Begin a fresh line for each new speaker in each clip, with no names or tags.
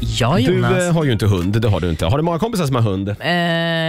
Ja,
Du
Jonas.
eh, har ju inte hund, det har du inte. Har du många kompisar som har hund?
Eh,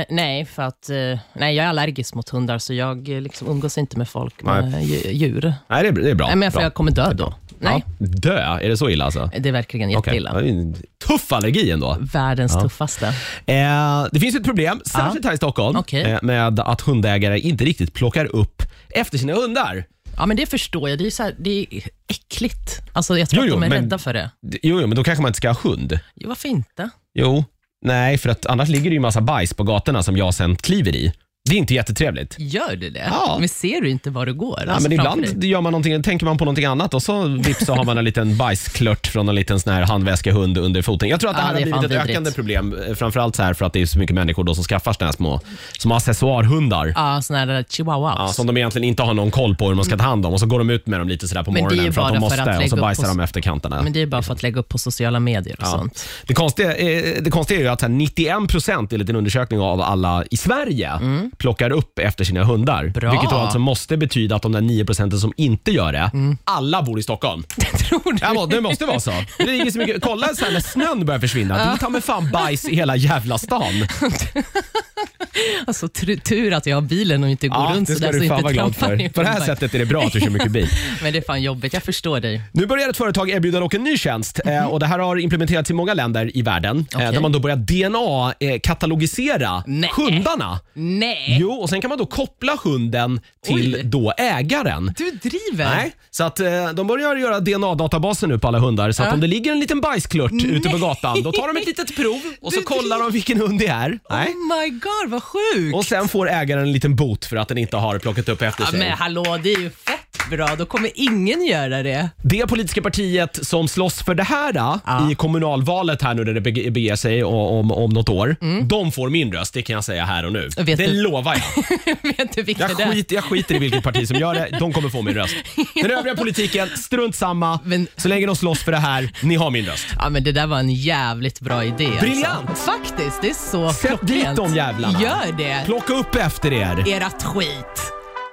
nej, för att eh, nej, jag är allergisk mot hundar, så jag eh, liksom umgås inte med folk, med dju- djur.
Nej, det är, det är bra.
nej, men för
bra.
jag kommer dö då. Nej,
Ja. Dö? Är det så illa alltså?
det är verkligen jätteilla.
Okej. Ja, det är en Tuff allergi ändå.
Världens tuffaste.
Eh, det finns ju ett problem, särskilt här i Stockholm,
Okej.
eh, med att hundägare inte riktigt plockar upp efter sina hundar.
Ja, men det förstår jag. Det är, ju så här, det är äckligt. Alltså, jag tror
Jo,
att de
jo,
är
men-
rädda för det.
D- Jo, jo, men då kanske man inte ska ha hund.
Jo, varför inte?
Jo, nej, för att annars ligger det ju massa bajs på gatorna som jag sen kliver i. Det är inte jättetrevligt.
Gör du det?
Ja.
Men ser du inte var du går? Alltså,
Ja, men ibland gör man någonting, tänker man på någonting annat och så vips så har man en liten bajsklört från en liten sån här handväskehund under foten. Jag tror att det
Ja,
här
det är
har blivit
fan
ett
vidrigt.
ökande problem, eh, framförallt så här för att det är så mycket människor då som skaffar såna här små, som accessoarhundar.
Ja, såna här chihuahuas.
Ja, som de egentligen inte har någon koll på hur man ska ta hand om och så går de ut med dem lite sådär på
Men det är
morgonen
ju
för att de
bara för
måste
att lägga
och så
upp
bajsar
på-
de efter kanterna.
Men det är ju bara för att lägga upp på sociala medier och
Ja.
sånt.
Det, konstiga, eh, det konstiga är ju att så här 91 procent enligt en undersökning av alla i Sverige plockar upp efter sina hundar.
Mm. Bra.
Vilket då alltså måste betyda att de där 9 procenten som inte gör det,
Mm.
alla bor i Stockholm.
Tror du?
Ja, må- det måste vara så. Det är ingen så mycket. Kolla så här när snön börjar försvinna. Det är ta med fan bajs i hela jävla stan.
Alltså, tur, tur att jag har bilen och inte går
Ja,
runt
det ska
sådär så
du
jag
fan
inte
vara glad
trampar i
för. På det här
hundar.
sättet är det bra att du kör mycket bil.
Men det är fan jobbigt, jag förstår dig.
Nu börjar ett företag erbjuda dock en ny tjänst eh, och det här har implementerats i många länder i världen eh,
Mhm. Okej.
där man då börjar DNA-katalogisera
Nej.
eh, hundarna.
Nej,
Jo, och sen kan man då koppla hunden till
Oj.
då ägaren.
du driver.
Nej, så att eh, de börjar göra DNA-databaser nu på alla hundar så att
Ja.
om det ligger en liten bajsklört ute på
Nej.
gatan då tar de ett litet prov och så
Du-
kollar de vilken hund det är. Nej.
Oh my god, vad sjukt.
Och sen får ägaren en liten bot för att den inte har plockat upp efter
Ja,
sig.
men hallå, det är ju fett bra. Då kommer ingen göra det.
Det politiska partiet som slåss för det här i kommunalvalet här nu när det bege- beger sig o- om, om något år. De får min röst, det kan jag säga här och nu.
Jag vet
det
du-
lovar jag.
Vet du vilka
Jag,
det är?
skit, jag skiter i vilket parti som gör det, de kommer få min röst. Den övriga politiken, strunt samma.
Men-
Så länge de slåss för det här, ni har min röst.
Ja, men det där var en jävligt bra idé.
Briljant!
Alltså. Faktiskt, det är så
Sätt dit
klockrent.
de jävlarna.
Gör det.
Plocka upp efter er.
Ert skit.